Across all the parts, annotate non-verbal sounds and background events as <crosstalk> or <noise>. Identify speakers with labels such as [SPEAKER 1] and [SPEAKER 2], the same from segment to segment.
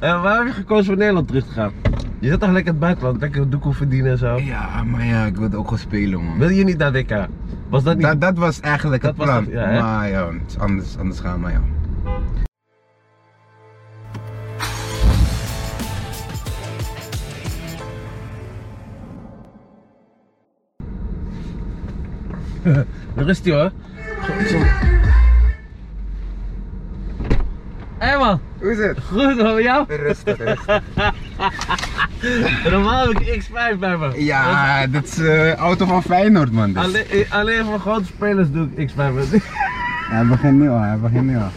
[SPEAKER 1] En waar heb je gekozen voor Nederland terug te gaan? Je zit toch lekker in het buitenland, lekker doekoe verdienen en zo.
[SPEAKER 2] Ja, maar ja, ik wilde ook gewoon spelen, man.
[SPEAKER 1] Wil je niet naar WK? Was dat niet?
[SPEAKER 2] Dat, dat was eigenlijk
[SPEAKER 1] Dat
[SPEAKER 2] het
[SPEAKER 1] was
[SPEAKER 2] plan.
[SPEAKER 1] het, ja, hè?
[SPEAKER 2] maar ja, het is anders, anders gaan, maar ja.
[SPEAKER 1] Rustig hoor. Hé man,
[SPEAKER 2] Hoe is het?
[SPEAKER 1] goed hoor, met
[SPEAKER 2] <laughs>
[SPEAKER 1] jou?
[SPEAKER 2] Rustig, rustig.
[SPEAKER 1] Normaal heb ik X5 bij me.
[SPEAKER 2] Ja, dit is eh auto van Feyenoord, man. Dus.
[SPEAKER 1] Alleen, eh, alleen voor grote spelers doe ik X5.
[SPEAKER 2] Hij begint nu al, hij begint nu al.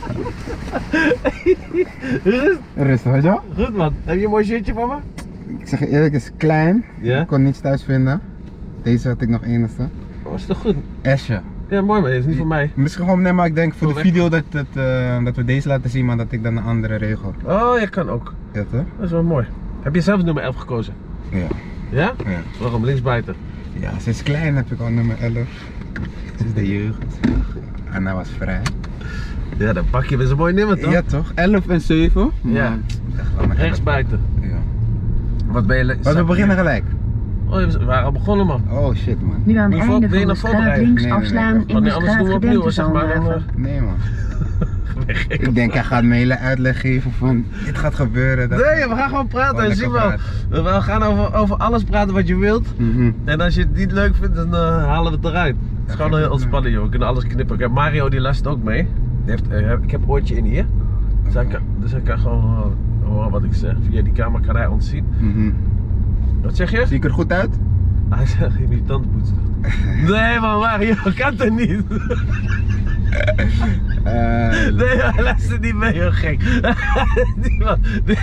[SPEAKER 1] Rust-
[SPEAKER 2] Rustig, weet je wel?
[SPEAKER 1] <laughs> Goed man, heb je een mooi shirtje van me?
[SPEAKER 2] Ik zeg je eerlijk, het is klein.
[SPEAKER 1] Ja?
[SPEAKER 2] Ik kon niets thuis vinden. Deze had ik nog enigste.
[SPEAKER 1] Was toch goed?
[SPEAKER 2] Esje.
[SPEAKER 1] Ja, mooi maar, is niet voor mij.
[SPEAKER 2] Misschien gewoon, nee, maar ik denk voor
[SPEAKER 1] Voor
[SPEAKER 2] de
[SPEAKER 1] weg.
[SPEAKER 2] video dat, dat, eh, dat we deze laten zien, maar dat ik dan een andere regel.
[SPEAKER 1] Oh, je kan ook.
[SPEAKER 2] Dat hè?
[SPEAKER 1] Dat is wel mooi. Heb je zelf nummer 11 gekozen?
[SPEAKER 2] Ja.
[SPEAKER 1] Ja?
[SPEAKER 2] Ja.
[SPEAKER 1] Waarom? Linksbuiten.
[SPEAKER 2] Ja, sinds klein heb ik al nummer 11. Sinds de jeugd. Anna was vrij.
[SPEAKER 1] Ja, dan pak je weer zo'n mooi nummer toch?
[SPEAKER 2] Ja toch? 11 en 7.
[SPEAKER 1] Ja. Rechtsbuiten.
[SPEAKER 2] Ja.
[SPEAKER 1] Wat ben je... le-
[SPEAKER 2] Maar we beginnen gelijk.
[SPEAKER 1] Oh, je- we waren al begonnen man.
[SPEAKER 2] Oh shit man.
[SPEAKER 3] Nu aan
[SPEAKER 1] Wil
[SPEAKER 3] het
[SPEAKER 1] je voor-
[SPEAKER 3] einde
[SPEAKER 1] wil je
[SPEAKER 3] van de
[SPEAKER 1] nog
[SPEAKER 3] straat
[SPEAKER 1] voorbereiden?
[SPEAKER 3] links
[SPEAKER 2] Nee, nee, nee.
[SPEAKER 3] afslaan
[SPEAKER 2] Want
[SPEAKER 3] in de
[SPEAKER 1] nee, anders doen we opnieuw, hoor, zeg maar, eh, dan,
[SPEAKER 3] straatgedempte
[SPEAKER 1] <laughs>
[SPEAKER 2] Nee man. ik denk hij gaat me hele uitleg geven van dit gaat gebeuren. Dat...
[SPEAKER 1] Nee, we gaan gewoon Oh, praten,
[SPEAKER 2] Gewoon
[SPEAKER 1] zie wel.
[SPEAKER 2] lekker
[SPEAKER 1] We gaan over, over alles praten wat je wilt.
[SPEAKER 2] Mhm.
[SPEAKER 1] En als je het niet leuk vindt, dan eh, halen we het eruit. Het is gewoon heel ontspannen, joh. We kunnen alles knippen. Ik heb Mario die luistert ook mee. Die heeft, eh, ik heb oortje in hier. Dus hij kan, dus hij kan gewoon eh, horen wat ik zeg. Via die camera kan hij ons zien.
[SPEAKER 2] Mhm.
[SPEAKER 1] Wat zeg je?
[SPEAKER 2] Zie ik er goed uit?
[SPEAKER 1] Hij zegt, je moet tanden <laughs> poetsen. Nee man, Mario, <laughs> kan dat niet.
[SPEAKER 2] Eh,
[SPEAKER 1] <laughs> Nee, hij luistert niet mee, heel gek. <laughs> Die man. <laughs>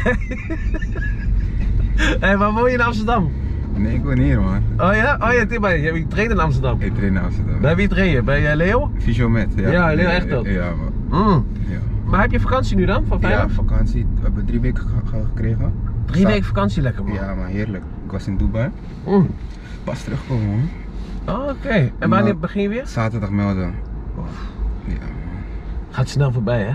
[SPEAKER 1] Nee. Hé, waar woon je in Amsterdam?
[SPEAKER 2] nee, ik woon hier man.
[SPEAKER 1] Oh ja? Oh ja, Tim, ik train in Amsterdam.
[SPEAKER 2] Ik train in Amsterdam.
[SPEAKER 1] Bij wie train je? Bij eh, Leo?
[SPEAKER 2] Fysiomet, ja.
[SPEAKER 1] Ja, Leo Echteld.
[SPEAKER 2] Ja, ja, man.
[SPEAKER 1] Mm.
[SPEAKER 2] Ja.
[SPEAKER 1] Maar heb je vakantie nu dan, van
[SPEAKER 2] Ja,
[SPEAKER 1] vrijdag?
[SPEAKER 2] vakantie. We hebben drie weken ge- ge- gekregen.
[SPEAKER 1] Drie
[SPEAKER 2] Sa-
[SPEAKER 1] weken vakantie lekker man.
[SPEAKER 2] Ja, maar heerlijk. Ik was in Dubai.
[SPEAKER 1] Mm.
[SPEAKER 2] Pas terugkomen, hoor.
[SPEAKER 1] Oh, Oké, en wanneer
[SPEAKER 2] Nou.
[SPEAKER 1] begin je weer?
[SPEAKER 2] Zaterdag melden. Ja,
[SPEAKER 1] Gaat snel voorbij hè?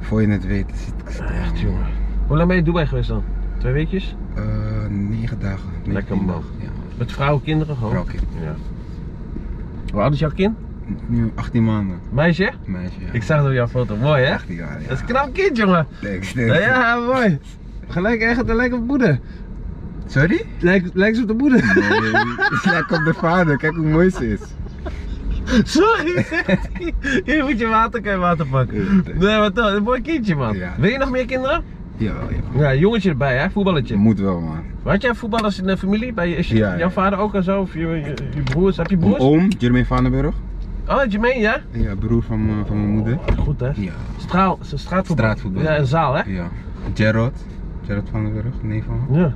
[SPEAKER 2] voor je het weet zit ik stil.
[SPEAKER 1] Echt jongen. Hoe lang ben je in Dubai geweest dan? Twee weekjes?
[SPEAKER 2] Eh, negen dagen. negen,
[SPEAKER 1] Lekker,
[SPEAKER 2] tien
[SPEAKER 1] man.
[SPEAKER 2] dagen, Ja.
[SPEAKER 1] Met vrouwen, kinderen gewoon?
[SPEAKER 2] Vrouw, kind.
[SPEAKER 1] Ja. Hoe oud is jouw kind?
[SPEAKER 2] Nu 18 maanden,
[SPEAKER 1] Meisje?
[SPEAKER 2] meisje. Ja.
[SPEAKER 1] Ik zag het op jouw foto, mooi hè?
[SPEAKER 2] 18 jaar, ja.
[SPEAKER 1] Dat is een knap kind jongen.
[SPEAKER 2] Thanks,
[SPEAKER 1] Ja,
[SPEAKER 2] thanks.
[SPEAKER 1] ja mooi. Gelijk echt een lekker moeder.
[SPEAKER 2] Sorry?
[SPEAKER 1] Lijkt, lijkt ze op de moeder.
[SPEAKER 2] Nee, het lijkt op de vader. Kijk hoe mooi ze is.
[SPEAKER 1] <laughs> Sorry, zegt hij. Je moet je water, kan je water pakken. Nee, maar toch, een mooi kindje man.
[SPEAKER 2] Ja.
[SPEAKER 1] Wil je nog meer kinderen?
[SPEAKER 2] Jawel, jawel.
[SPEAKER 1] Ja, jongetje erbij hè, voetballetje.
[SPEAKER 2] Moet wel, man.
[SPEAKER 1] Had jij voetballers in de familie? Bij je, is je-
[SPEAKER 2] Ja, ja. Oh.
[SPEAKER 1] jouw vader ook al zo? Of je, je, je broers? Heb je
[SPEAKER 2] Mijn
[SPEAKER 1] broers?
[SPEAKER 2] oom, Jermaine Vandenburg.
[SPEAKER 1] Oh, Jermaine, ja?
[SPEAKER 2] Ja, broer van, mijn- van mijn moeder.
[SPEAKER 1] Oh, Goed, hè?
[SPEAKER 2] Ja.
[SPEAKER 1] Straal, s- straatvoetbal.
[SPEAKER 2] Straatvoetbal.
[SPEAKER 1] Ja, een zaal, hè?
[SPEAKER 2] Ja. Gerard. Gerard Vandenburg, nee van hem.
[SPEAKER 1] Ja.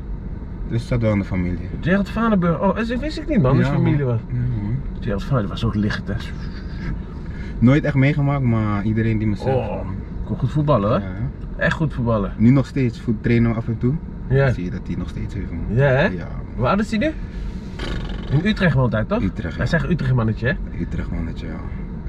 [SPEAKER 2] Dus dat wel in de familie.
[SPEAKER 1] Gerard Vanenburg. Oh, dat wist ik niet, man. Dat is
[SPEAKER 2] Ja,
[SPEAKER 1] familie was.
[SPEAKER 2] Ja, man.
[SPEAKER 1] Gerard Vanenburg was ook licht, hè?
[SPEAKER 2] Nooit echt meegemaakt, maar iedereen die me zegt.
[SPEAKER 1] Oh, kon goed voetballen, hoor.
[SPEAKER 2] Ja.
[SPEAKER 1] Echt goed voetballen.
[SPEAKER 2] Nu nog steeds, voet trainen we af en toe.
[SPEAKER 1] Ja.
[SPEAKER 2] Zie je dat hij nog steeds heeft, man.
[SPEAKER 1] Ja, hè?
[SPEAKER 2] Ja,
[SPEAKER 1] Hoe oud is hij nu? In Utrecht woont hij, toch?
[SPEAKER 2] Utrecht, ja.
[SPEAKER 1] Hij zegt Utrecht, mannetje, hè?
[SPEAKER 2] Utrecht mannetje, ja.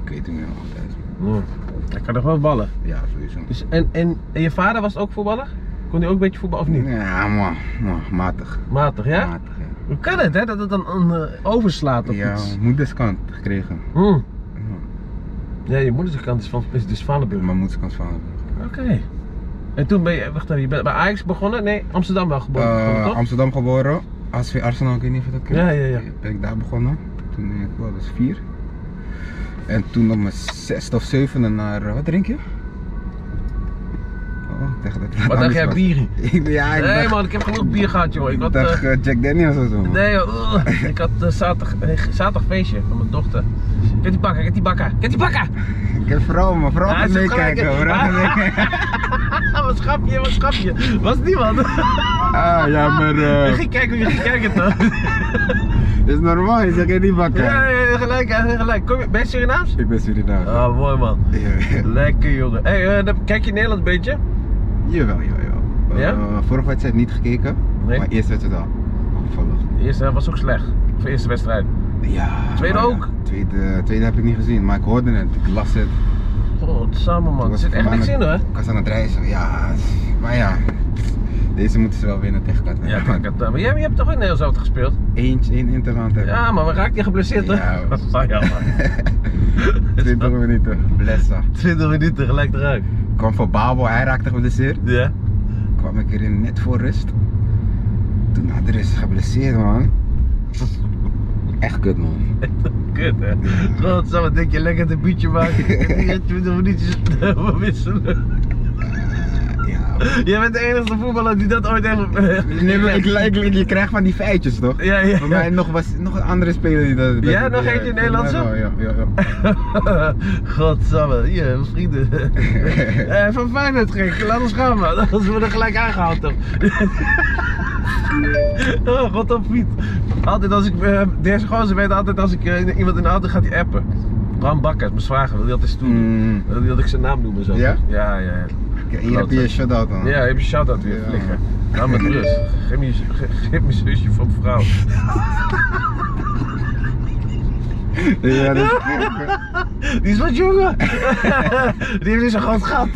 [SPEAKER 2] Ik weet het niet meer altijd.
[SPEAKER 1] Ja. Hij kan nog wel ballen.
[SPEAKER 2] Ja, sowieso.
[SPEAKER 1] Dus, en, en, en je vader was ook voetballer? Kon hij ook een beetje voetballen of niet?
[SPEAKER 2] Ja, man. man, matig.
[SPEAKER 1] Matig, ja?
[SPEAKER 2] Matig, ja.
[SPEAKER 1] Hoe kan het, hè? Dat het dan een, eh, overslaat op
[SPEAKER 2] Ja,
[SPEAKER 1] iets.
[SPEAKER 2] moederskant gekregen.
[SPEAKER 1] Hm.
[SPEAKER 2] Ja.
[SPEAKER 1] Ja, je moederskant is, van, is dus Vaneburg.
[SPEAKER 2] Mijn moederskant van.
[SPEAKER 1] Oké. En toen ben je, wacht even, je bent bij Ajax begonnen? Nee, Amsterdam wel geboren, begonnen,
[SPEAKER 2] Eh
[SPEAKER 1] toch?
[SPEAKER 2] Amsterdam geboren. ASV Arsenal, ik weet niet of je dat kent.
[SPEAKER 1] Ja, ja, ja.
[SPEAKER 2] Ben ik daar begonnen. Toen eh, ik wel was vier. En toen op mijn zesde of zevende naar, eh, wat drink je? Oh, ik dacht <laughs> dat het
[SPEAKER 1] Wat dacht
[SPEAKER 2] anders
[SPEAKER 1] jij,
[SPEAKER 2] was.
[SPEAKER 1] bier?
[SPEAKER 2] Ik- ja, ik
[SPEAKER 1] Nee
[SPEAKER 2] dacht,
[SPEAKER 1] man, ik heb genoeg bier gehad jongen. Ik
[SPEAKER 2] ik
[SPEAKER 1] had,
[SPEAKER 2] dacht
[SPEAKER 1] eh,
[SPEAKER 2] eh, Jack Daniels of zo. man.
[SPEAKER 1] nee joh, ugh. ik had eh, zaterdag, eh, zaterdag feestje van mijn dochter. Kijk die bakker, kijk die bakker, kijk die bakker!
[SPEAKER 2] Ik heb vrouw, maar vrouw
[SPEAKER 1] Ja,
[SPEAKER 2] gaat
[SPEAKER 1] ze heeft
[SPEAKER 2] meekijken.
[SPEAKER 1] gelijk, hè?
[SPEAKER 2] vrouw gaat
[SPEAKER 1] Ah.
[SPEAKER 2] meekijken.
[SPEAKER 1] <laughs> wat schapje, wat schapje. Was het niemand?
[SPEAKER 2] <laughs> Ah, ja, maar
[SPEAKER 1] Je
[SPEAKER 2] eh,
[SPEAKER 1] ging kijken hoe je ging kijken
[SPEAKER 2] <laughs>
[SPEAKER 1] toch?
[SPEAKER 2] is normaal, je zegt je niet bakken.
[SPEAKER 1] ja, ja, ja, gelijk, hè, gelijk. Kom je, ben je Surinaams?
[SPEAKER 2] Ik ben Surinaam.
[SPEAKER 1] Ah, mooi man. Lekker jongen. Hey, eh, dan kijk je Nederland een beetje?
[SPEAKER 2] Jawel, jawel, jawel. Eh,
[SPEAKER 1] Ja?
[SPEAKER 2] vorige wedstrijd niet gekeken,
[SPEAKER 1] Nee.
[SPEAKER 2] maar eerst werd het al. Opvallig.
[SPEAKER 1] De eerste helft was ook slecht. Of de eerste wedstrijd.
[SPEAKER 2] Ja.
[SPEAKER 1] Tweede
[SPEAKER 2] maar ja,
[SPEAKER 1] ook?
[SPEAKER 2] tweede, tweede heb ik niet gezien, maar ik hoorde het, ik las het. Ik
[SPEAKER 1] God, samen man. Er
[SPEAKER 2] was
[SPEAKER 1] zit echt niks in
[SPEAKER 2] verbaasd.
[SPEAKER 1] hoor.
[SPEAKER 2] Ik was aan het reizen, ja. Maar ja, Deze moeten ze wel winnen tegen Qatar.
[SPEAKER 1] Ja, maar, Qatar. maar jij je hebt toch ook Nederlands auto gespeeld?
[SPEAKER 2] Eentje, één interland hebben.
[SPEAKER 1] Ja, maar we raakten je geblesseerd, hè? Ah,
[SPEAKER 2] Ja,
[SPEAKER 1] dat <laughs> is wel
[SPEAKER 2] <laughs>
[SPEAKER 1] jammer. <laughs>
[SPEAKER 2] 20 minuten. Blessa.
[SPEAKER 1] 20 minuten gelijk eruit.
[SPEAKER 2] Kwam voor Babel, hij raakte geblesseerd.
[SPEAKER 1] Ja.
[SPEAKER 2] Kwam ik erin net voor rust. Toen na de rust geblesseerd, man. Echt kut, man.
[SPEAKER 1] Kut, hè? Wat zou het denk je lekker een buurtje maken
[SPEAKER 2] <laughs>
[SPEAKER 1] en die 20 minuutjes eh, wisselen?
[SPEAKER 2] Ja. man.
[SPEAKER 1] Jij bent de enige voetballer die dat ooit heeft.
[SPEAKER 2] Nee, maar ik, ik, ik- je krijgt van die feitjes, toch?
[SPEAKER 1] <laughs> Ja, ja.
[SPEAKER 2] Voor mij
[SPEAKER 1] <laughs>
[SPEAKER 2] nog, was, nog een andere speler die dat... dat
[SPEAKER 1] Ja, nog
[SPEAKER 2] die-
[SPEAKER 1] eentje
[SPEAKER 2] voor mij
[SPEAKER 1] Nederlandse?
[SPEAKER 2] wel, Ja, ja, ja.
[SPEAKER 1] Godsamme, hier,
[SPEAKER 2] <laughs>
[SPEAKER 1] vrienden. Eh van Feyenoord gek, laat ons gaan man. <laughs> Anders worden we er gelijk aangehaald toch. <laughs> oh, god op fiets. Altijd als ik, eh, deze gozer weet altijd als ik eh, iemand in de auto gaat die appen. Bram Bakkers, mijn zwager, wil die altijd toen doen.
[SPEAKER 2] Mm.
[SPEAKER 1] Wil die dat ik zijn naam noemen zo.
[SPEAKER 2] Ja?
[SPEAKER 1] Ja, ja. ja.
[SPEAKER 2] Kijk, Hier heb je je shout-out, man.
[SPEAKER 1] Ja, heb je shout-out weer
[SPEAKER 2] Ja.
[SPEAKER 1] liggen. Laat me met rust. Geef me, je- ge- geef me je zusje van vrouw.
[SPEAKER 2] <laughs> Ja, dat is-
[SPEAKER 1] Die is wat <laughs> jonger. Die heeft dus een groot gat.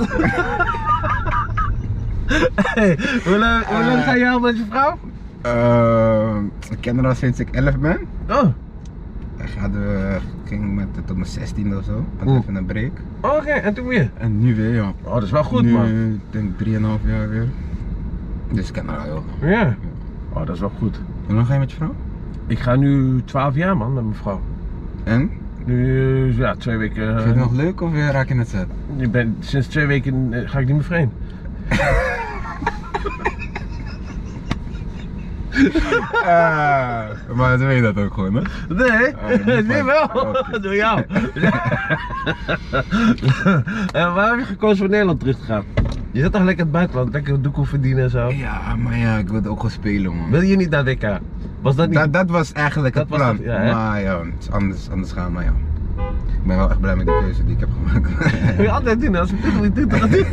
[SPEAKER 1] Hey, hoe lang, hoe lang ga je al met je vrouw?
[SPEAKER 2] Ehm, ik ken haar al sinds ik 11 ben.
[SPEAKER 1] Oh,
[SPEAKER 2] Ik hadden we, ging met, tot mijn 16 of zo. Had
[SPEAKER 1] Oeh.
[SPEAKER 2] even een break.
[SPEAKER 1] oké. En toen weer?
[SPEAKER 2] En nu weer, ja.
[SPEAKER 1] Oh, dat is wel goed,
[SPEAKER 2] nu,
[SPEAKER 1] man.
[SPEAKER 2] Ik denk 3,5 jaar weer. Dus ik ken haar al heel lang.
[SPEAKER 1] Ja. Oh, dat is wel goed.
[SPEAKER 2] Hoe lang ga je met je vrouw?
[SPEAKER 1] Ik ga nu 12 jaar, man, met mijn vrouw.
[SPEAKER 2] En?
[SPEAKER 1] Nu, eh, ja, twee weken.
[SPEAKER 2] Vind je het
[SPEAKER 1] eh,
[SPEAKER 2] nog leuk of eh, raak je het
[SPEAKER 1] <laughs>
[SPEAKER 2] zet?
[SPEAKER 1] ik ben, sinds twee weken eh, ga ik niet meer vreemd. Ah.
[SPEAKER 2] maar dan weet je dat ook gewoon, hè?
[SPEAKER 1] <laughs> Nee,
[SPEAKER 2] Oh, niet
[SPEAKER 1] nu
[SPEAKER 2] van-
[SPEAKER 1] wel.
[SPEAKER 2] Oh, oké.
[SPEAKER 1] <laughs> Door jou. en waarom heb je gekozen voor Nederland terug te gaan? Je zit toch lekker in het buitenland, lekker doekoe verdienen en zo.
[SPEAKER 2] Ja, maar ja, ik wilde ook gewoon spelen, man.
[SPEAKER 1] Wil je niet naar WK? Was dat niet?
[SPEAKER 2] Dat, dat was eigenlijk
[SPEAKER 1] Dat
[SPEAKER 2] het
[SPEAKER 1] was
[SPEAKER 2] plan.
[SPEAKER 1] het, ja, hè?
[SPEAKER 2] maar ja, het is anders, anders gaan, maar ja. Ik ben wel echt blij met de keuze die ik heb
[SPEAKER 1] <laughs>
[SPEAKER 2] gemaakt.
[SPEAKER 1] Wil je altijd doen als <laughs> dit doet, dat doet.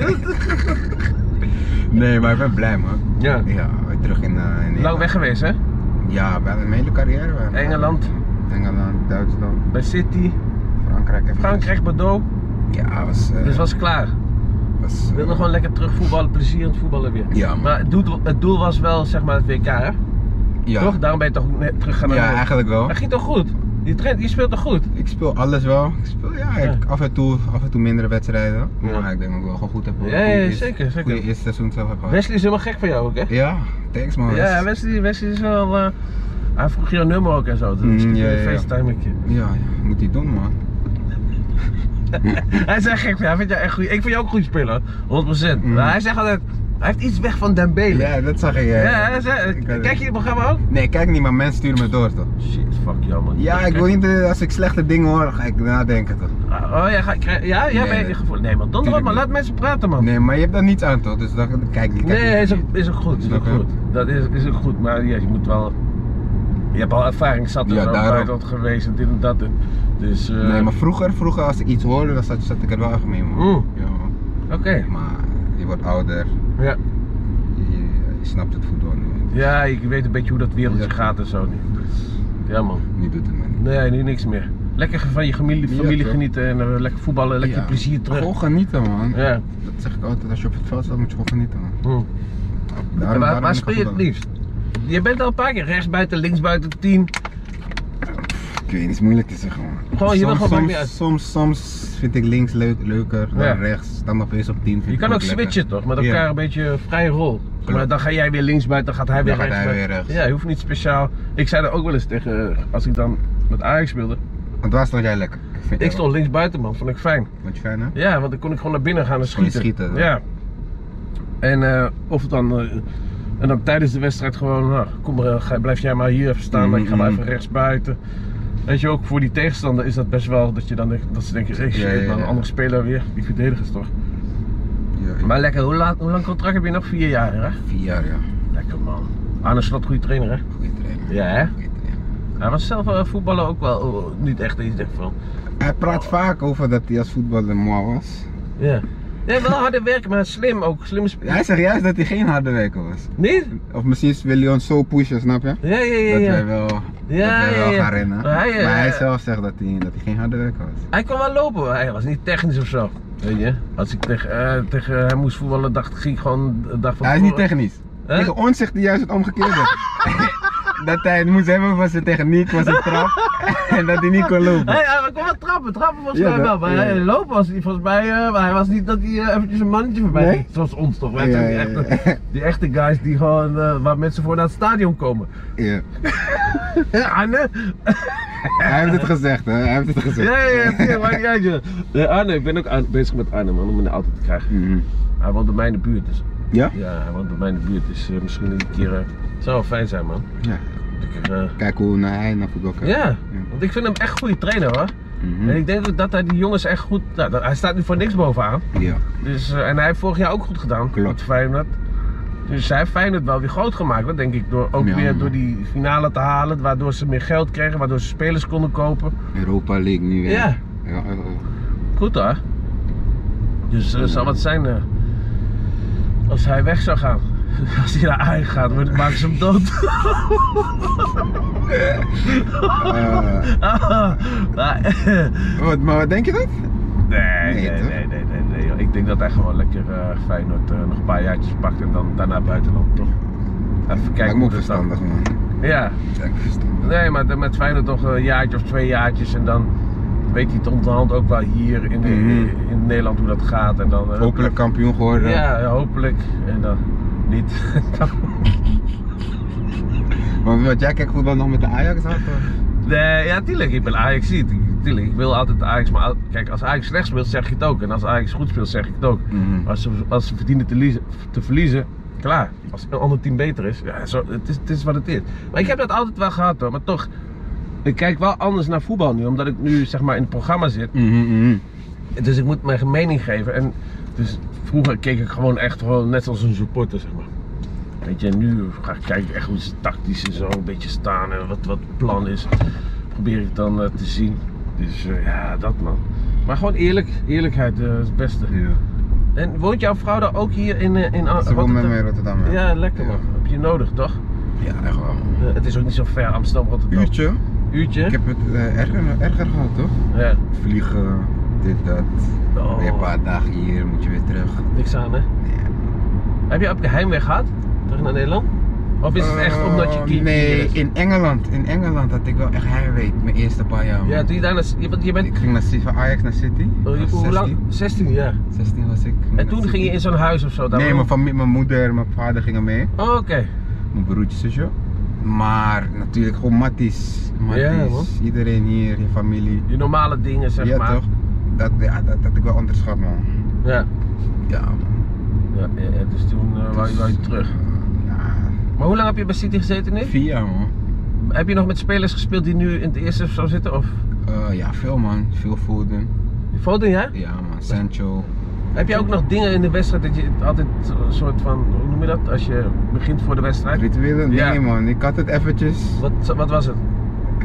[SPEAKER 2] <laughs> nee, maar ik ben blij, man.
[SPEAKER 1] Ja.
[SPEAKER 2] Ja, weer terug in, eh, in
[SPEAKER 1] Lang
[SPEAKER 2] Nederland.
[SPEAKER 1] weg geweest, hè?
[SPEAKER 2] Ja, bijna mijn hele carrière. bijna.
[SPEAKER 1] Engeland,
[SPEAKER 2] Engeland, Duitsland,
[SPEAKER 1] bij City,
[SPEAKER 2] Frankrijk. even-
[SPEAKER 1] Frankrijk, Bordeaux.
[SPEAKER 2] Ja, was... eh,
[SPEAKER 1] Dus was klaar.
[SPEAKER 2] was eh,
[SPEAKER 1] Ik wilde gewoon lekker terug voetballen, plezier aan het voetballen weer.
[SPEAKER 2] Ja, man.
[SPEAKER 1] Maar het doel, het doel was wel zeg maar het WK, hè?
[SPEAKER 2] ja.
[SPEAKER 1] Toch? Daarom ben je toch net terug gaan naar
[SPEAKER 2] Ja,
[SPEAKER 1] Nederland.
[SPEAKER 2] eigenlijk wel.
[SPEAKER 1] Maar ging toch goed? Die trend, je speelt toch goed?
[SPEAKER 2] Ik speel alles wel. Ik speel ja,
[SPEAKER 1] Ja.
[SPEAKER 2] ik- Af, en toe, af en toe mindere wedstrijden.
[SPEAKER 1] Ja.
[SPEAKER 2] Maar ik denk dat ik wel gewoon goed heb.
[SPEAKER 1] Ja, ja, zeker, zeker.
[SPEAKER 2] Goede eerste seizoen zelf heb gehad.
[SPEAKER 1] Wesley is helemaal gek van jou ook, hè?
[SPEAKER 2] Ja, thanks man.
[SPEAKER 1] Ja, Wesley, Wesley is wel. eh, hij vroeg jouw nummer ook en zo.
[SPEAKER 2] Mm,
[SPEAKER 1] Dus
[SPEAKER 2] ja, ja, ja.
[SPEAKER 1] FaceTime ik je.
[SPEAKER 2] Ja, ja, moet hij doen man.
[SPEAKER 1] Hij is echt gek van jou. Hij vindt jou echt goed. Ik vind jou ook een goed speler, 100%.
[SPEAKER 2] Mm.
[SPEAKER 1] Maar hij zegt altijd. Hij heeft iets weg van Dembele. Ja,
[SPEAKER 2] Ja, dat zag ik. eh.
[SPEAKER 1] hij zegt-
[SPEAKER 2] Ik
[SPEAKER 1] kijk
[SPEAKER 2] weet
[SPEAKER 1] je
[SPEAKER 2] het.
[SPEAKER 1] het programma ook?
[SPEAKER 2] Nee, ik kijk niet, maar mensen sturen me door toch?
[SPEAKER 1] Shit, fuck jou man.
[SPEAKER 2] Ja, ik
[SPEAKER 1] Kijk-
[SPEAKER 2] wil niet, eh, als ik slechte dingen hoor, ga ik nadenken toch?
[SPEAKER 1] Ah, Oh, ja, ga, krijg- ja, jij
[SPEAKER 2] Nee,
[SPEAKER 1] bent
[SPEAKER 2] nee.
[SPEAKER 1] gevoel. Nee man, donder op
[SPEAKER 2] Tuurlijk
[SPEAKER 1] maar
[SPEAKER 2] niet.
[SPEAKER 1] laat mensen praten man.
[SPEAKER 2] Nee, maar je hebt daar niets aan toch? Dus dan kijk ik.
[SPEAKER 1] Oh. Nee, is, ook, is ook goed. Is ook
[SPEAKER 2] Snap je?
[SPEAKER 1] goed. Dat is, is ook goed, maar ja, je moet wel. Je hebt al ervaring zat in
[SPEAKER 2] Ja,
[SPEAKER 1] het
[SPEAKER 2] daarom.
[SPEAKER 1] buitenland geweest en dit en dat. en- Dus. eh,
[SPEAKER 2] Nee, maar vroeger, vroeger als ik iets hoorde, dan zat, zat ik er wel echt mee, man.
[SPEAKER 1] Mm.
[SPEAKER 2] Ja, man.
[SPEAKER 1] Oké.
[SPEAKER 2] Maar je wordt ouder,
[SPEAKER 1] Ja.
[SPEAKER 2] je, je- je snapt het voetbal nu.
[SPEAKER 1] ja, ik weet een beetje hoe dat wereldje
[SPEAKER 2] Ja.
[SPEAKER 1] gaat en zo nu.
[SPEAKER 2] Dus
[SPEAKER 1] Ja man.
[SPEAKER 2] nu doet het me niet.
[SPEAKER 1] Nee, nu niks meer. Lekker van je familie,
[SPEAKER 2] Ja,
[SPEAKER 1] familie
[SPEAKER 2] toch?
[SPEAKER 1] genieten en eh, lekker voetballen, lekker
[SPEAKER 2] Ja.
[SPEAKER 1] plezier terug.
[SPEAKER 2] Gewoon genieten, man.
[SPEAKER 1] Ja.
[SPEAKER 2] Dat zeg ik altijd, als je op het veld staat, moet je gewoon genieten, man.
[SPEAKER 1] Hm.
[SPEAKER 2] Daarom,
[SPEAKER 1] En waar,
[SPEAKER 2] daarom
[SPEAKER 1] waar
[SPEAKER 2] ben ik
[SPEAKER 1] speel je het
[SPEAKER 2] voetballer.
[SPEAKER 1] liefst? Je bent al een paar keer rechtsbuiten, linksbuiten, tien.
[SPEAKER 2] Ik weet niet, het is moeilijk te zeggen, man.
[SPEAKER 1] Gewoon, je wil gewoon, maakt niet uit.
[SPEAKER 2] soms, soms, soms vind ik links leuk, leuker dan
[SPEAKER 1] Ja.
[SPEAKER 2] rechts. Stand opeens op 10 vind
[SPEAKER 1] Je
[SPEAKER 2] ik
[SPEAKER 1] kan ook
[SPEAKER 2] lekker.
[SPEAKER 1] switchen toch? Met
[SPEAKER 2] Ja.
[SPEAKER 1] elkaar een beetje vrije rol. Maar
[SPEAKER 2] Klopt.
[SPEAKER 1] dan ga jij weer linksbuiten, dan gaat hij
[SPEAKER 2] Dan
[SPEAKER 1] weer
[SPEAKER 2] gaat hij
[SPEAKER 1] rechtsbuiten.
[SPEAKER 2] weer rechts.
[SPEAKER 1] Ja, je hoeft niet speciaal. Ik zei er ook wel eens tegen, eh, als ik dan met Ajax speelde.
[SPEAKER 2] Want waar stond jij lekker? Vind
[SPEAKER 1] Ik
[SPEAKER 2] jij wel.
[SPEAKER 1] stond linksbuiten man, vond ik fijn.
[SPEAKER 2] Vond je fijn, hè?
[SPEAKER 1] Ja, want dan kon ik gewoon naar binnen gaan en
[SPEAKER 2] Gewoon
[SPEAKER 1] schieten.
[SPEAKER 2] schieten, hè?
[SPEAKER 1] ja. En eh, of het dan. eh, en dan tijdens de wedstrijd gewoon, nou, kom maar, eh, ga- blijf jij maar hier even staan,
[SPEAKER 2] Mm,
[SPEAKER 1] ik ga maar
[SPEAKER 2] mm.
[SPEAKER 1] even rechtsbuiten. Weet je, ook voor die tegenstander is dat best wel dat je dan denkt, dat ze denken, hey, shit,
[SPEAKER 2] Ja, ja,
[SPEAKER 1] man, een
[SPEAKER 2] ja.
[SPEAKER 1] andere speler weer, die verdedigers toch.
[SPEAKER 2] Ja, ik-
[SPEAKER 1] Maar lekker, hoe, laat, hoe lang contract heb je nog? Vier jaar, hè?
[SPEAKER 2] Vier jaar, ja.
[SPEAKER 1] Lekker man. Arne Slot, goede trainer hè?
[SPEAKER 2] Goeie trainer.
[SPEAKER 1] Ja hè?
[SPEAKER 2] Goeie trainer.
[SPEAKER 1] Hij was zelf eh, voetballer ook wel eh, niet echt iets echt van.
[SPEAKER 2] Hij praat vaak over dat hij als voetballer mooi was.
[SPEAKER 1] Ja. Ja, wel harde werken, maar slim ook. Slim speler.
[SPEAKER 2] Hij zegt juist dat hij geen harde werker was.
[SPEAKER 1] Niet? eh,
[SPEAKER 2] Of misschien wil hij ons zo pushen, snap je?
[SPEAKER 1] Ja, ja, ja.
[SPEAKER 2] Dat wij
[SPEAKER 1] ja.
[SPEAKER 2] wel,
[SPEAKER 1] Ja,
[SPEAKER 2] dat wij
[SPEAKER 1] ja,
[SPEAKER 2] wel
[SPEAKER 1] ja.
[SPEAKER 2] gaan rennen.
[SPEAKER 1] Maar hij, eh,
[SPEAKER 2] maar hij zelf zegt dat hij, dat hij geen harde werker was.
[SPEAKER 1] Hij kon wel lopen, maar hij was niet technisch of zo. Weet je? Als ik tegen, eh, tegen hem moest voetballen, dacht ging ik gewoon de dag van
[SPEAKER 2] Hij is niet
[SPEAKER 1] tevoren-
[SPEAKER 2] technisch.
[SPEAKER 1] Hè?
[SPEAKER 2] Tegen ons zegt hij juist het
[SPEAKER 1] <laughs>
[SPEAKER 2] omgekeerde. dat hij het moest hebben was zijn techniek, was zijn trap. <laughs> en dat hij niet kon lopen.
[SPEAKER 1] Hey, hij kon wel trappen, trappen volgens
[SPEAKER 2] Ja,
[SPEAKER 1] mij
[SPEAKER 2] dat-
[SPEAKER 1] wel. Maar
[SPEAKER 2] ja, ja.
[SPEAKER 1] hij lopen was hij volgens mij, eh, maar hij was niet dat hij eh, eventjes een mannetje voorbij
[SPEAKER 2] Nee?
[SPEAKER 1] ging. Zoals ons toch, weet je,
[SPEAKER 2] Ja,
[SPEAKER 1] die,
[SPEAKER 2] ja, ja. <laughs>
[SPEAKER 1] echte, die echte guys die gewoon, eh, waar mensen voor naar het stadion komen.
[SPEAKER 2] Ja.
[SPEAKER 1] <laughs> Arne?
[SPEAKER 2] Hij heeft het gezegd, hè? Hij heeft het gezegd.
[SPEAKER 1] Ja, ja, ja, tuurlijk, maakt niet uit, joh. Ja, Arne, ik ben ook aan- bezig met Arne man, om in de auto te krijgen.
[SPEAKER 2] Mhm.
[SPEAKER 1] Hij woont bij mij in de buurt, dus
[SPEAKER 2] Ja?
[SPEAKER 1] ja, hij woont bij mij in de buurt, dus eh, misschien een keer, eh, zou wel fijn zijn man.
[SPEAKER 2] Ja.
[SPEAKER 1] Ik, eh,
[SPEAKER 2] Kijk hoe naar hij naar voetbal kijkt.
[SPEAKER 1] ja, want ik vind hem echt een goede trainer hoor.
[SPEAKER 2] Mhm.
[SPEAKER 1] En ik denk ook dat hij die jongens echt goed, nou, dat- hij staat nu voor niks bovenaan.
[SPEAKER 2] ja.
[SPEAKER 1] Dus, eh, en hij heeft vorig jaar ook goed gedaan.
[SPEAKER 2] Klopt.
[SPEAKER 1] met Feyenoord. Dus hij heeft Feyenoord wel weer groot gemaakt, hoor, denk ik. Door, ook
[SPEAKER 2] Ja,
[SPEAKER 1] weer
[SPEAKER 2] man.
[SPEAKER 1] door die finale te halen, waardoor ze meer geld kregen, waardoor ze spelers konden kopen.
[SPEAKER 2] Europa League nu weer.
[SPEAKER 1] Ja.
[SPEAKER 2] Ja, ja, ja.
[SPEAKER 1] Goed hoor. Dus het zou wat zijn eh, als hij weg zou gaan. <laughs> Als hij naar Ajax gaat, wordt- maken ze hem dood. <laughs>
[SPEAKER 2] Eh,
[SPEAKER 1] Ah, maar,
[SPEAKER 2] wat, maar wat denk je dat?
[SPEAKER 1] nee, nee,
[SPEAKER 2] Nee, toch?
[SPEAKER 1] nee, nee, nee, nee, joh. Ik denk dat hij gewoon lekker eh, Feyenoord eh, nog een paar jaartjes pakt en dan daarna buitenland, toch? Even kijken
[SPEAKER 2] Kijk, ik moet
[SPEAKER 1] hoe dat dan-
[SPEAKER 2] verstandig, man.
[SPEAKER 1] Ja,
[SPEAKER 2] Kijk, verstandig.
[SPEAKER 1] Nee, maar dan met Feyenoord toch een jaartje of twee jaartjes en dan weet hij het onderhand ook wel hier in, in,
[SPEAKER 2] Mhm.
[SPEAKER 1] in Nederland hoe dat gaat. En dan, eh,
[SPEAKER 2] Hopelijk kampioen geworden.
[SPEAKER 1] Ja, ja, hopelijk. En dan niet. <laughs>
[SPEAKER 2] Want wat, jij kijkt voetbal nog met de Ajax af? of?
[SPEAKER 1] nee, ja, tuurlijk, ik ben Ajax ziet. Tuurlijk, ik wil altijd Ajax. Maar al- kijk, als Ajax slecht speelt, zeg ik het ook. En als Ajax goed speelt, zeg ik het ook.
[SPEAKER 2] Mhm.
[SPEAKER 1] Als ze, als ze verdienen te, liezen- te verliezen, klaar. Als een ander team beter is, ja, zo, het, is, het is wat het is. Maar ik heb dat altijd wel gehad hoor. Maar toch, ik kijk wel anders naar voetbal nu. Omdat ik nu zeg maar in het programma zit.
[SPEAKER 2] Mhm, mhm.
[SPEAKER 1] Dus ik moet mijn mening geven. En dus vroeger keek ik gewoon echt gewoon net als een supporter, zeg maar. Weet je, en nu ga ik kijken echt hoe ze tactisch en zo een beetje staan en wat, wat het plan is. Probeer ik dan eh, te zien. Dus eh, ja, dat man. Maar gewoon eerlijk, eerlijkheid eh, is het beste.
[SPEAKER 2] Ja.
[SPEAKER 1] En woont jouw vrouw dan ook hier in, eh, in Am-
[SPEAKER 2] Ze woont met
[SPEAKER 1] Rotterdam?
[SPEAKER 2] mij in Rotterdam. hè?
[SPEAKER 1] Ja, lekker man. Heb je nodig toch?
[SPEAKER 2] Ja, echt wel. man.
[SPEAKER 1] Eh, het is ook niet zo ver, Amsterdam-Rotterdam.
[SPEAKER 2] Uurtje.
[SPEAKER 1] Uurtje?
[SPEAKER 2] Ik heb het eh, erger, erger gehad, toch?
[SPEAKER 1] Ja.
[SPEAKER 2] Vliegen, dit, dat.
[SPEAKER 1] Oh,
[SPEAKER 2] Weer een paar dagen hier, moet je weer terug.
[SPEAKER 1] Niks aan hè?
[SPEAKER 2] Nee.
[SPEAKER 1] Heb je op de heimweg gehad? Terug naar Nederland? Of is het echt omdat je
[SPEAKER 2] Eh,
[SPEAKER 1] kind
[SPEAKER 2] Nee,
[SPEAKER 1] is?
[SPEAKER 2] in Engeland. In Engeland had ik wel echt heimwee, mijn eerste paar jaar. man.
[SPEAKER 1] Ja, toen je daarna... Je, bent- je bent...
[SPEAKER 2] Ik ging naar, C- van Ajax naar City.
[SPEAKER 1] hoe-
[SPEAKER 2] was
[SPEAKER 1] hoe lang?
[SPEAKER 2] 16.
[SPEAKER 1] 16 jaar.
[SPEAKER 2] 16 was ik.
[SPEAKER 1] En toen ging je in zo'n huis of zo? daar
[SPEAKER 2] Nee,
[SPEAKER 1] wel?
[SPEAKER 2] mijn, familie, mijn moeder en mijn vader gingen mee.
[SPEAKER 1] Oh, oké.
[SPEAKER 2] Mijn broertje, zusje. Maar natuurlijk gewoon Matties.
[SPEAKER 1] Ja, man.
[SPEAKER 2] Matties, iedereen hier, je familie.
[SPEAKER 1] Je normale dingen, zeg
[SPEAKER 2] ja,
[SPEAKER 1] maar.
[SPEAKER 2] toch? Dat, ja, dat, dat had ik wel onderschat, man.
[SPEAKER 1] Ja.
[SPEAKER 2] Ja, man.
[SPEAKER 1] Ja, ja, ja, dus toen eh, wou, je, wou je terug.
[SPEAKER 2] Ja,
[SPEAKER 1] Maar hoe lang heb je bij City gezeten nu?
[SPEAKER 2] vier jaar, man.
[SPEAKER 1] Heb je nog met spelers gespeeld die nu in het eerste of zo zitten? Of?
[SPEAKER 2] Eh, ja, veel, man. Veel Foden.
[SPEAKER 1] Foden, ja?
[SPEAKER 2] Ja, man. Sancho.
[SPEAKER 1] Heb je ook nog dingen in de wedstrijd dat je het altijd een soort van, hoe noem je dat? Als je begint voor de wedstrijd.
[SPEAKER 2] Rituelen? Nee,
[SPEAKER 1] Ja.
[SPEAKER 2] man. Ik had het eventjes.
[SPEAKER 1] Wat, wat was het?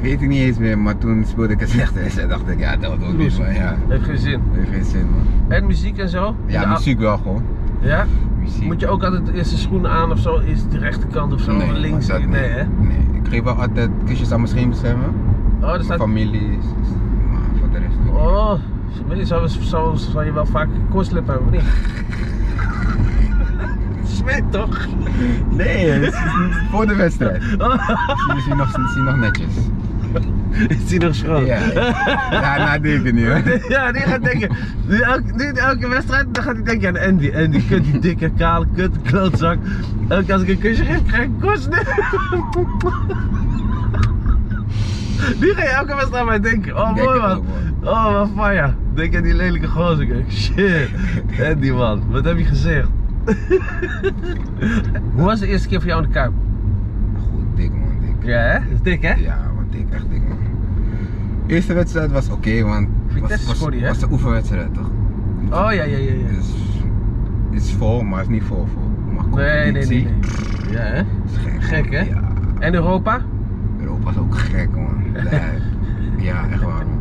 [SPEAKER 2] Weet ik niet eens meer, maar toen speelde ik een slechte <laughs> wedstrijd. dacht ik, ja, dat wordt ook niet,
[SPEAKER 1] Loser.
[SPEAKER 2] man. Ja,
[SPEAKER 1] Heeft geen zin.
[SPEAKER 2] heeft geen zin, man.
[SPEAKER 1] En muziek en zo?
[SPEAKER 2] Ja, muziek wel gewoon.
[SPEAKER 1] Ja?
[SPEAKER 2] Muziek.
[SPEAKER 1] Moet je ook altijd eerst de schoenen aan of zo? Eerst de rechterkant of zo?
[SPEAKER 2] Nee,
[SPEAKER 1] of links?
[SPEAKER 2] dat
[SPEAKER 1] Nee,
[SPEAKER 2] niet.
[SPEAKER 1] hè?
[SPEAKER 2] Nee, ik geef wel altijd kusjes aan mijn schermbeschermen.
[SPEAKER 1] Oh, er
[SPEAKER 2] Mijn
[SPEAKER 1] staat...
[SPEAKER 2] familie, maar voor de rest. ook.
[SPEAKER 1] Oh, weet je, zou, zou, zou je wel vaak een koortslip hebben, of niet? <laughs> Zweet toch?
[SPEAKER 2] Nee,
[SPEAKER 1] eh,
[SPEAKER 2] het is niet voor de wedstrijd.
[SPEAKER 1] Oh.
[SPEAKER 2] Jullie zien nog, zien nog netjes.
[SPEAKER 1] <laughs> Is die nog schoon?
[SPEAKER 2] Ja, ja nou deed ik het niet hoor.
[SPEAKER 1] <laughs> Ja, die gaat denken. Nu elke, nu elke wedstrijd dan gaat hij denken aan Andy. Andy, kut, die dikke, kale, kut, klootzak. Elke keer als ik een kusje geef, krijg ik een <laughs> kus. Nee. Nu ga je elke wedstrijd aan mij denken. Oh,
[SPEAKER 2] Denk
[SPEAKER 1] mooi
[SPEAKER 2] het
[SPEAKER 1] man.
[SPEAKER 2] ook, man.
[SPEAKER 1] Oh, wat van ja. Denk aan die lelijke gozer. Ik denk, Shit. Andy, man. Wat heb je gezegd? <laughs> Hoe was de eerste keer voor jou in de Kuip?
[SPEAKER 2] Goed, dik man, dik.
[SPEAKER 1] Ja, hè? Dat is dik, hè?
[SPEAKER 2] Ja, man, dik, echt dik man. Eerste wedstrijd was oké, want het was,
[SPEAKER 1] Vitesse
[SPEAKER 2] was,
[SPEAKER 1] scoorde, hè?
[SPEAKER 2] was een oefenwedstrijd toch?
[SPEAKER 1] Oh, ja, ja, ja. ja.
[SPEAKER 2] Dus het is vol, maar het is niet vol vol. Maar
[SPEAKER 1] Nee, nee, nee,
[SPEAKER 2] competitie,
[SPEAKER 1] nee. Ja, hè?
[SPEAKER 2] is gek.
[SPEAKER 1] Gek, hè?
[SPEAKER 2] Ja,
[SPEAKER 1] En Europa?
[SPEAKER 2] Europa is ook gek
[SPEAKER 1] <laughs>
[SPEAKER 2] man. Lijp. Ja, echt waar man.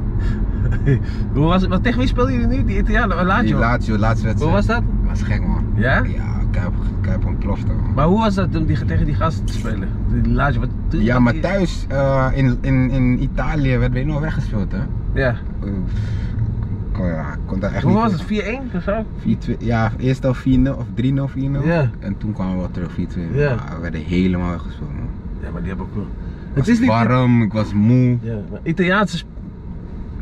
[SPEAKER 1] Hoe was het? Wat, tegen wie speelden jullie nu? Die Italianen? eh,
[SPEAKER 2] Die
[SPEAKER 1] Lazio?
[SPEAKER 2] laatste, laatste wedstrijd.
[SPEAKER 1] Hoe was dat?
[SPEAKER 2] Was gek man.
[SPEAKER 1] Ja?
[SPEAKER 2] Ja, Kuip, Kuip ontplofte man.
[SPEAKER 1] Maar hoe was dat om die, tegen die gasten te spelen? Die Lazio? Wat, toen-
[SPEAKER 2] Ja,
[SPEAKER 1] wat-
[SPEAKER 2] maar thuis eh, in, in, in Italië werd Beno weggespeeld, hè?
[SPEAKER 1] Ja.
[SPEAKER 2] Eh, kon, ja, ik kon dat echt
[SPEAKER 1] Hoe
[SPEAKER 2] niet.
[SPEAKER 1] was het? 4-1 of zo?
[SPEAKER 2] 4-2, ja, eerst al 4-0 of 3-0, 4-0.
[SPEAKER 1] Ja.
[SPEAKER 2] En toen kwamen we wel terug 4-2.
[SPEAKER 1] Ja.
[SPEAKER 2] Maar we werden helemaal weggespeeld, man.
[SPEAKER 1] Ja, maar die hebben ook wel.
[SPEAKER 2] Het is niet warm, ik was moe.
[SPEAKER 1] Ja, maar Italiaanse. sp-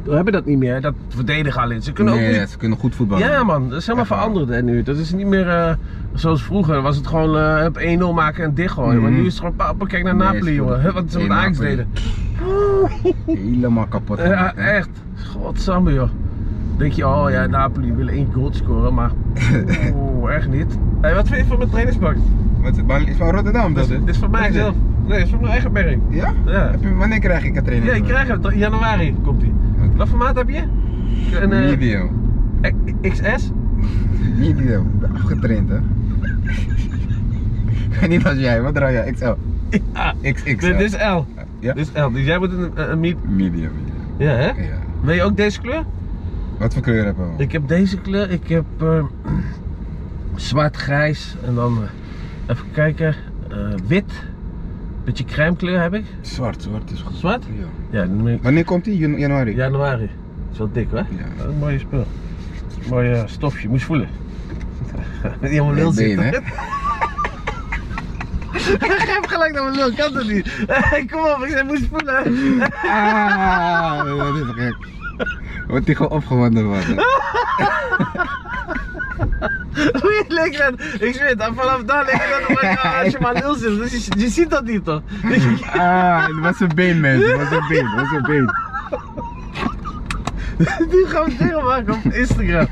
[SPEAKER 1] We hebben dat niet meer, hè, dat verdedigen alleen. Ze kunnen
[SPEAKER 2] nee,
[SPEAKER 1] ook
[SPEAKER 2] ja,
[SPEAKER 1] niet.
[SPEAKER 2] ze kunnen goed voetballen.
[SPEAKER 1] Ja, man, dat is helemaal
[SPEAKER 2] Echt waar.
[SPEAKER 1] veranderd hè, nu. Dat is niet meer eh, zoals vroeger. Was het gewoon eh, op 1-0 maken en dicht gooien. Maar
[SPEAKER 2] Mhm.
[SPEAKER 1] nu is het gewoon, papa, kijk naar
[SPEAKER 2] Nee,
[SPEAKER 1] Napoli,
[SPEAKER 2] ze
[SPEAKER 1] jongen. <laughs>
[SPEAKER 2] speelden
[SPEAKER 1] Hè, Wat ze
[SPEAKER 2] goed.
[SPEAKER 1] met
[SPEAKER 2] Nee,
[SPEAKER 1] Ajax
[SPEAKER 2] Napoli.
[SPEAKER 1] deden.
[SPEAKER 2] Helemaal kapot.
[SPEAKER 1] Eh, Ja,
[SPEAKER 2] gemaakt, hè.
[SPEAKER 1] echt. Godsamme, joh. Denk je, oh ja, Napoli wil één goal scoren, <laughs> maar. Oeh, echt niet. Hey, wat vind je van mijn trainingspak?
[SPEAKER 2] Wat is- maar is van Rotterdam, dat
[SPEAKER 1] Dit is, dit is van mij
[SPEAKER 2] Wat
[SPEAKER 1] zelf. Nee, dit is van mijn eigen merk.
[SPEAKER 2] dit? Ja?
[SPEAKER 1] Ja.
[SPEAKER 2] Heb je- wanneer krijg ik een training?
[SPEAKER 1] Ja, ik krijg hem. In januari komt hij. Wat voor maat heb je? Een eh,
[SPEAKER 2] Medium.
[SPEAKER 1] X- XS?
[SPEAKER 2] Medium. Ik ben Afgetraind, hè? <laughs> Niet als jij, wat draai jij? XL.
[SPEAKER 1] Ah,
[SPEAKER 2] XX.
[SPEAKER 1] dit is L.
[SPEAKER 2] Ja?
[SPEAKER 1] Dit is L. Dus jij moet een, een, een meet.
[SPEAKER 2] Medium, medium.
[SPEAKER 1] Ja, hè?
[SPEAKER 2] Ja.
[SPEAKER 1] Wil je ook deze kleur?
[SPEAKER 2] Wat voor kleur heb je?
[SPEAKER 1] Ik heb deze kleur. Ik heb eh, zwart-grijs. En dan eh, even kijken. eh, wit. Beetje crème kleur heb ik.
[SPEAKER 2] Zwart, zwart is goed.
[SPEAKER 1] Zwart?
[SPEAKER 2] Ja.
[SPEAKER 1] Ja, dan ben ik-
[SPEAKER 2] Wanneer komt die? Janu- Januari?
[SPEAKER 1] januari. Dat is wel dik, hè?
[SPEAKER 2] Ja.
[SPEAKER 1] Dat is een mooie spul. Mooi eh, stofje. Moest voelen. <laughs> Niet helemaal lul
[SPEAKER 2] Nee,
[SPEAKER 1] zitten.
[SPEAKER 2] been, hè? <laughs>
[SPEAKER 1] <laughs> Ik heb gelijk naar mijn lul, kan dat niet? <laughs> Kom op, ik zei, moest voelen. <laughs>
[SPEAKER 2] Ah, dat is gek. Wordt die gewoon opgewonden worden.
[SPEAKER 1] Hoe je leek dat? Ik zweer het, en vanaf daar leek het dat maar,
[SPEAKER 2] <laughs>
[SPEAKER 1] als je maar lul zit. Dus je, je ziet dat niet toch? <laughs>
[SPEAKER 2] Ah, het was een been, mensen. Het was een been, het was een been.
[SPEAKER 1] <laughs> Die gaan we dingen maken op Instagram.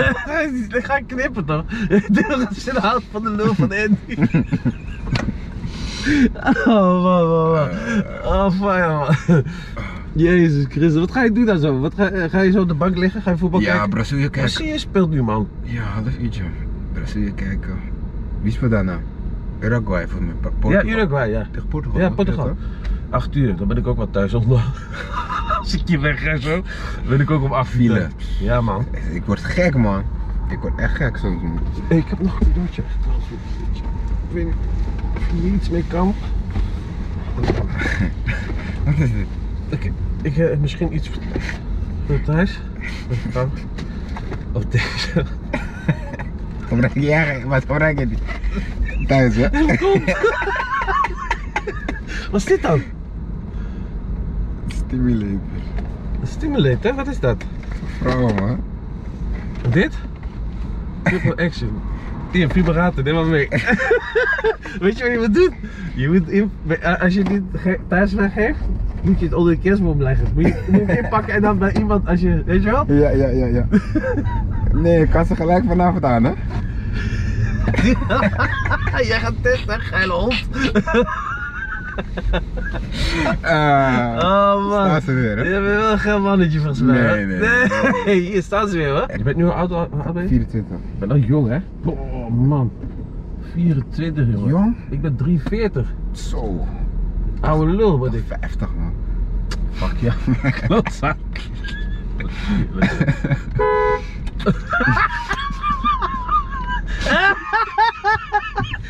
[SPEAKER 1] <laughs> Dat ga ik knippen toch? <laughs> Deel als je de houdt van de lul van Andy. <laughs> Oh man, man, man. Oh fijn man. Jezus Christus, wat ga je doen dan zo? Wat ga, eh, ga je zo op de bank liggen? Ga je voetbal
[SPEAKER 2] Ja,
[SPEAKER 1] kijken?
[SPEAKER 2] Brazilië kijken.
[SPEAKER 1] Brazilië speelt nu man.
[SPEAKER 2] Ja, half uurtje. Brazilië kijken. Wie speelt daarna? Uruguay voor mij.
[SPEAKER 1] Ja,
[SPEAKER 2] Portugal.
[SPEAKER 1] Uruguay, ja.
[SPEAKER 2] Tegen Portugal.
[SPEAKER 1] Ja,
[SPEAKER 2] toch?
[SPEAKER 1] Portugal.
[SPEAKER 2] toch?
[SPEAKER 1] 8 uur, dan ben ik ook wat thuis. <laughs> Om... Als ik je weg en zo, ben ik ook om 8 uur.
[SPEAKER 2] File.
[SPEAKER 1] thuis. Ja, man.
[SPEAKER 2] Ik word gek, man. Ik word echt gek soms, man. <laughs>
[SPEAKER 1] Hey, ik heb nog een cadeautje. trouwens. Ik weet niet of je hier iets mee kan.
[SPEAKER 2] Wat is dit?
[SPEAKER 1] Ik, ik eh, misschien iets voor- voor thuis. Even kijken. Of deze.
[SPEAKER 2] Gebruik je eigen, wat gebruik je die? Thuis, hè?
[SPEAKER 1] Kom! <laughs> Wat is dit dan?
[SPEAKER 2] Stimulator.
[SPEAKER 1] Een stimulator, wat is dat?
[SPEAKER 2] Vrouwen, man.
[SPEAKER 1] Dit? Triple action. Die vibrator, neem maar mee. <laughs> Weet je wat je moet doen? Je moet in, als je dit ge- thuis weggeeft, moet je het onder de kerstboom leggen. Moet je, moet je hem inpakken en dan bij iemand als je, weet je wel?
[SPEAKER 2] Ja, ja, ja, ja. Nee, ik kan ze gelijk vanavond aan, hè?
[SPEAKER 1] Jij gaat testen, geile hond.
[SPEAKER 2] Ah.
[SPEAKER 1] Oh man.
[SPEAKER 2] Staan ze weer, hè?
[SPEAKER 1] Je bent wel een geil mannetje volgens mij. hè?
[SPEAKER 2] Nee, nee, nee.
[SPEAKER 1] Nee, <laughs> hier staan ze weer hoor. Je bent nu oud, oud ben je?
[SPEAKER 2] 24.
[SPEAKER 1] Ik ben nog jong hè? Oh man. 24 jongen.
[SPEAKER 2] Jong?
[SPEAKER 1] Ik ben 43.
[SPEAKER 2] Zo.
[SPEAKER 1] Oude lul word ik.
[SPEAKER 2] 50, man.
[SPEAKER 1] Fuck ja, klootzak.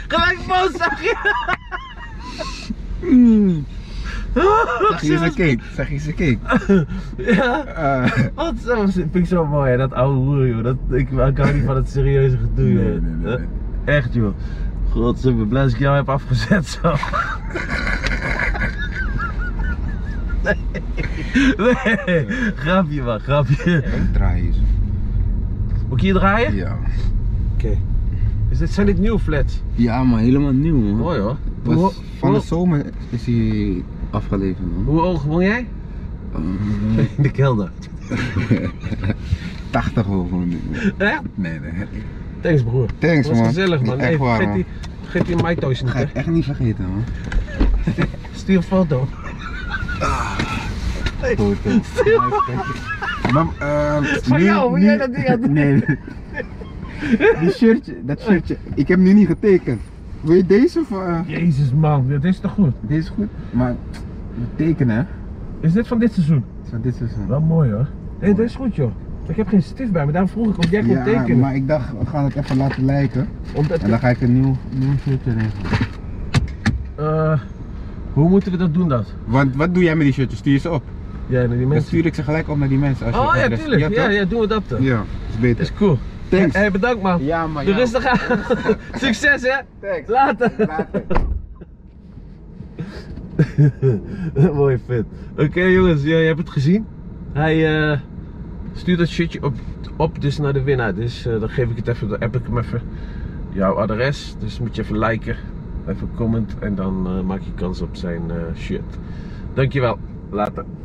[SPEAKER 1] Gelijk boos, zag je?
[SPEAKER 2] Zeg je ze cake? Zeg je ze cake?
[SPEAKER 1] Ja,
[SPEAKER 2] Ah.
[SPEAKER 1] wat zo, vind ik zo mooi, hè, dat oude hoer, joh. Dat, ik, ik hou niet van het serieuze gedoe,
[SPEAKER 2] Nee,
[SPEAKER 1] joh.
[SPEAKER 2] nee, nee, nee.
[SPEAKER 1] Echt, joh. God, ik ben blij dat ik jou heb afgezet, zo. <laughs> Nee, nee, grapje man, grapje.
[SPEAKER 2] <laughs> Draai eens.
[SPEAKER 1] Moet ik hier draaien?
[SPEAKER 2] Ja.
[SPEAKER 1] Oké. Is dit, zijn dit nieuwe flats?
[SPEAKER 2] Ja, maar helemaal nieuw, man.
[SPEAKER 1] Mooi hoor.
[SPEAKER 2] Was-
[SPEAKER 1] Hoe,
[SPEAKER 2] van de
[SPEAKER 1] hoe,
[SPEAKER 2] zomer is hij afgeleverd, man.
[SPEAKER 1] hoe hoog woon
[SPEAKER 2] <laughs>
[SPEAKER 1] jij?
[SPEAKER 2] Ehm,
[SPEAKER 1] In de kelder.
[SPEAKER 2] 80 hoog, man.
[SPEAKER 1] Echt?
[SPEAKER 2] Nee, nee.
[SPEAKER 1] Thanks broer.
[SPEAKER 2] Thanks,
[SPEAKER 1] was
[SPEAKER 2] man.
[SPEAKER 1] gezellig man.
[SPEAKER 2] Echt
[SPEAKER 1] Hey,
[SPEAKER 2] waar,
[SPEAKER 1] vergeet
[SPEAKER 2] man.
[SPEAKER 1] die, vergeet die Mai Toys niet
[SPEAKER 2] Ga
[SPEAKER 1] hè.
[SPEAKER 2] ik echt niet vergeten, man.
[SPEAKER 1] Stuur een foto.
[SPEAKER 2] Goed, eh, hè.
[SPEAKER 1] <laughs>
[SPEAKER 2] Mam, ehm,
[SPEAKER 1] Van
[SPEAKER 2] nu-
[SPEAKER 1] jou, hoe
[SPEAKER 2] nu-
[SPEAKER 1] jij dat ding aan het-
[SPEAKER 2] Nee. Die shirtje, dat shirtje. Ik heb nu niet getekend. Wil je deze of... eh,
[SPEAKER 1] Jezus man, dit is toch goed?
[SPEAKER 2] Deze is goed, maar moet tekenen, hè?
[SPEAKER 1] Is dit van dit seizoen?
[SPEAKER 2] Zo, dit is een...
[SPEAKER 1] Wel mooi hoor. Hé, dit is goed joh. Ik heb geen stift bij me, daarom vroeg ik of jij kon
[SPEAKER 2] Ja,
[SPEAKER 1] tekenen.
[SPEAKER 2] maar ik dacht, we gaan het even laten lijken.
[SPEAKER 1] Omdat,
[SPEAKER 2] En dan ga ik een nieuw, nieuw shirtje regelen.
[SPEAKER 1] eh, hoe moeten we dat doen dat?
[SPEAKER 2] Want wat doe jij met die shirtjes? Stuur je ze op?
[SPEAKER 1] Ja, naar die
[SPEAKER 2] Dan
[SPEAKER 1] mensen.
[SPEAKER 2] stuur ik ze gelijk op naar die mensen. Als je
[SPEAKER 1] Oh ja,
[SPEAKER 2] adres-
[SPEAKER 1] tuurlijk. Ja,
[SPEAKER 2] toch?
[SPEAKER 1] ja, doen we dat dan.
[SPEAKER 2] Ja, is beter.
[SPEAKER 1] Is cool.
[SPEAKER 2] Thanks.
[SPEAKER 1] Hey, bedankt man.
[SPEAKER 2] Ja, maar
[SPEAKER 1] Doe
[SPEAKER 2] ja.
[SPEAKER 1] rustig aan. <laughs> Succes hè.
[SPEAKER 2] Thanks.
[SPEAKER 1] Later.
[SPEAKER 2] Later.
[SPEAKER 1] <laughs> Mooi vet. Oké jongens, ja, je hebt het gezien. Hij eh, stuurt dat shitje op, op dus naar de winnaar. Dus eh, dan geef ik het even, dan app ik hem even jouw adres. Dus moet je even liken, even comment en dan eh, maak je kans op zijn eh, shirt. Dankjewel. Later.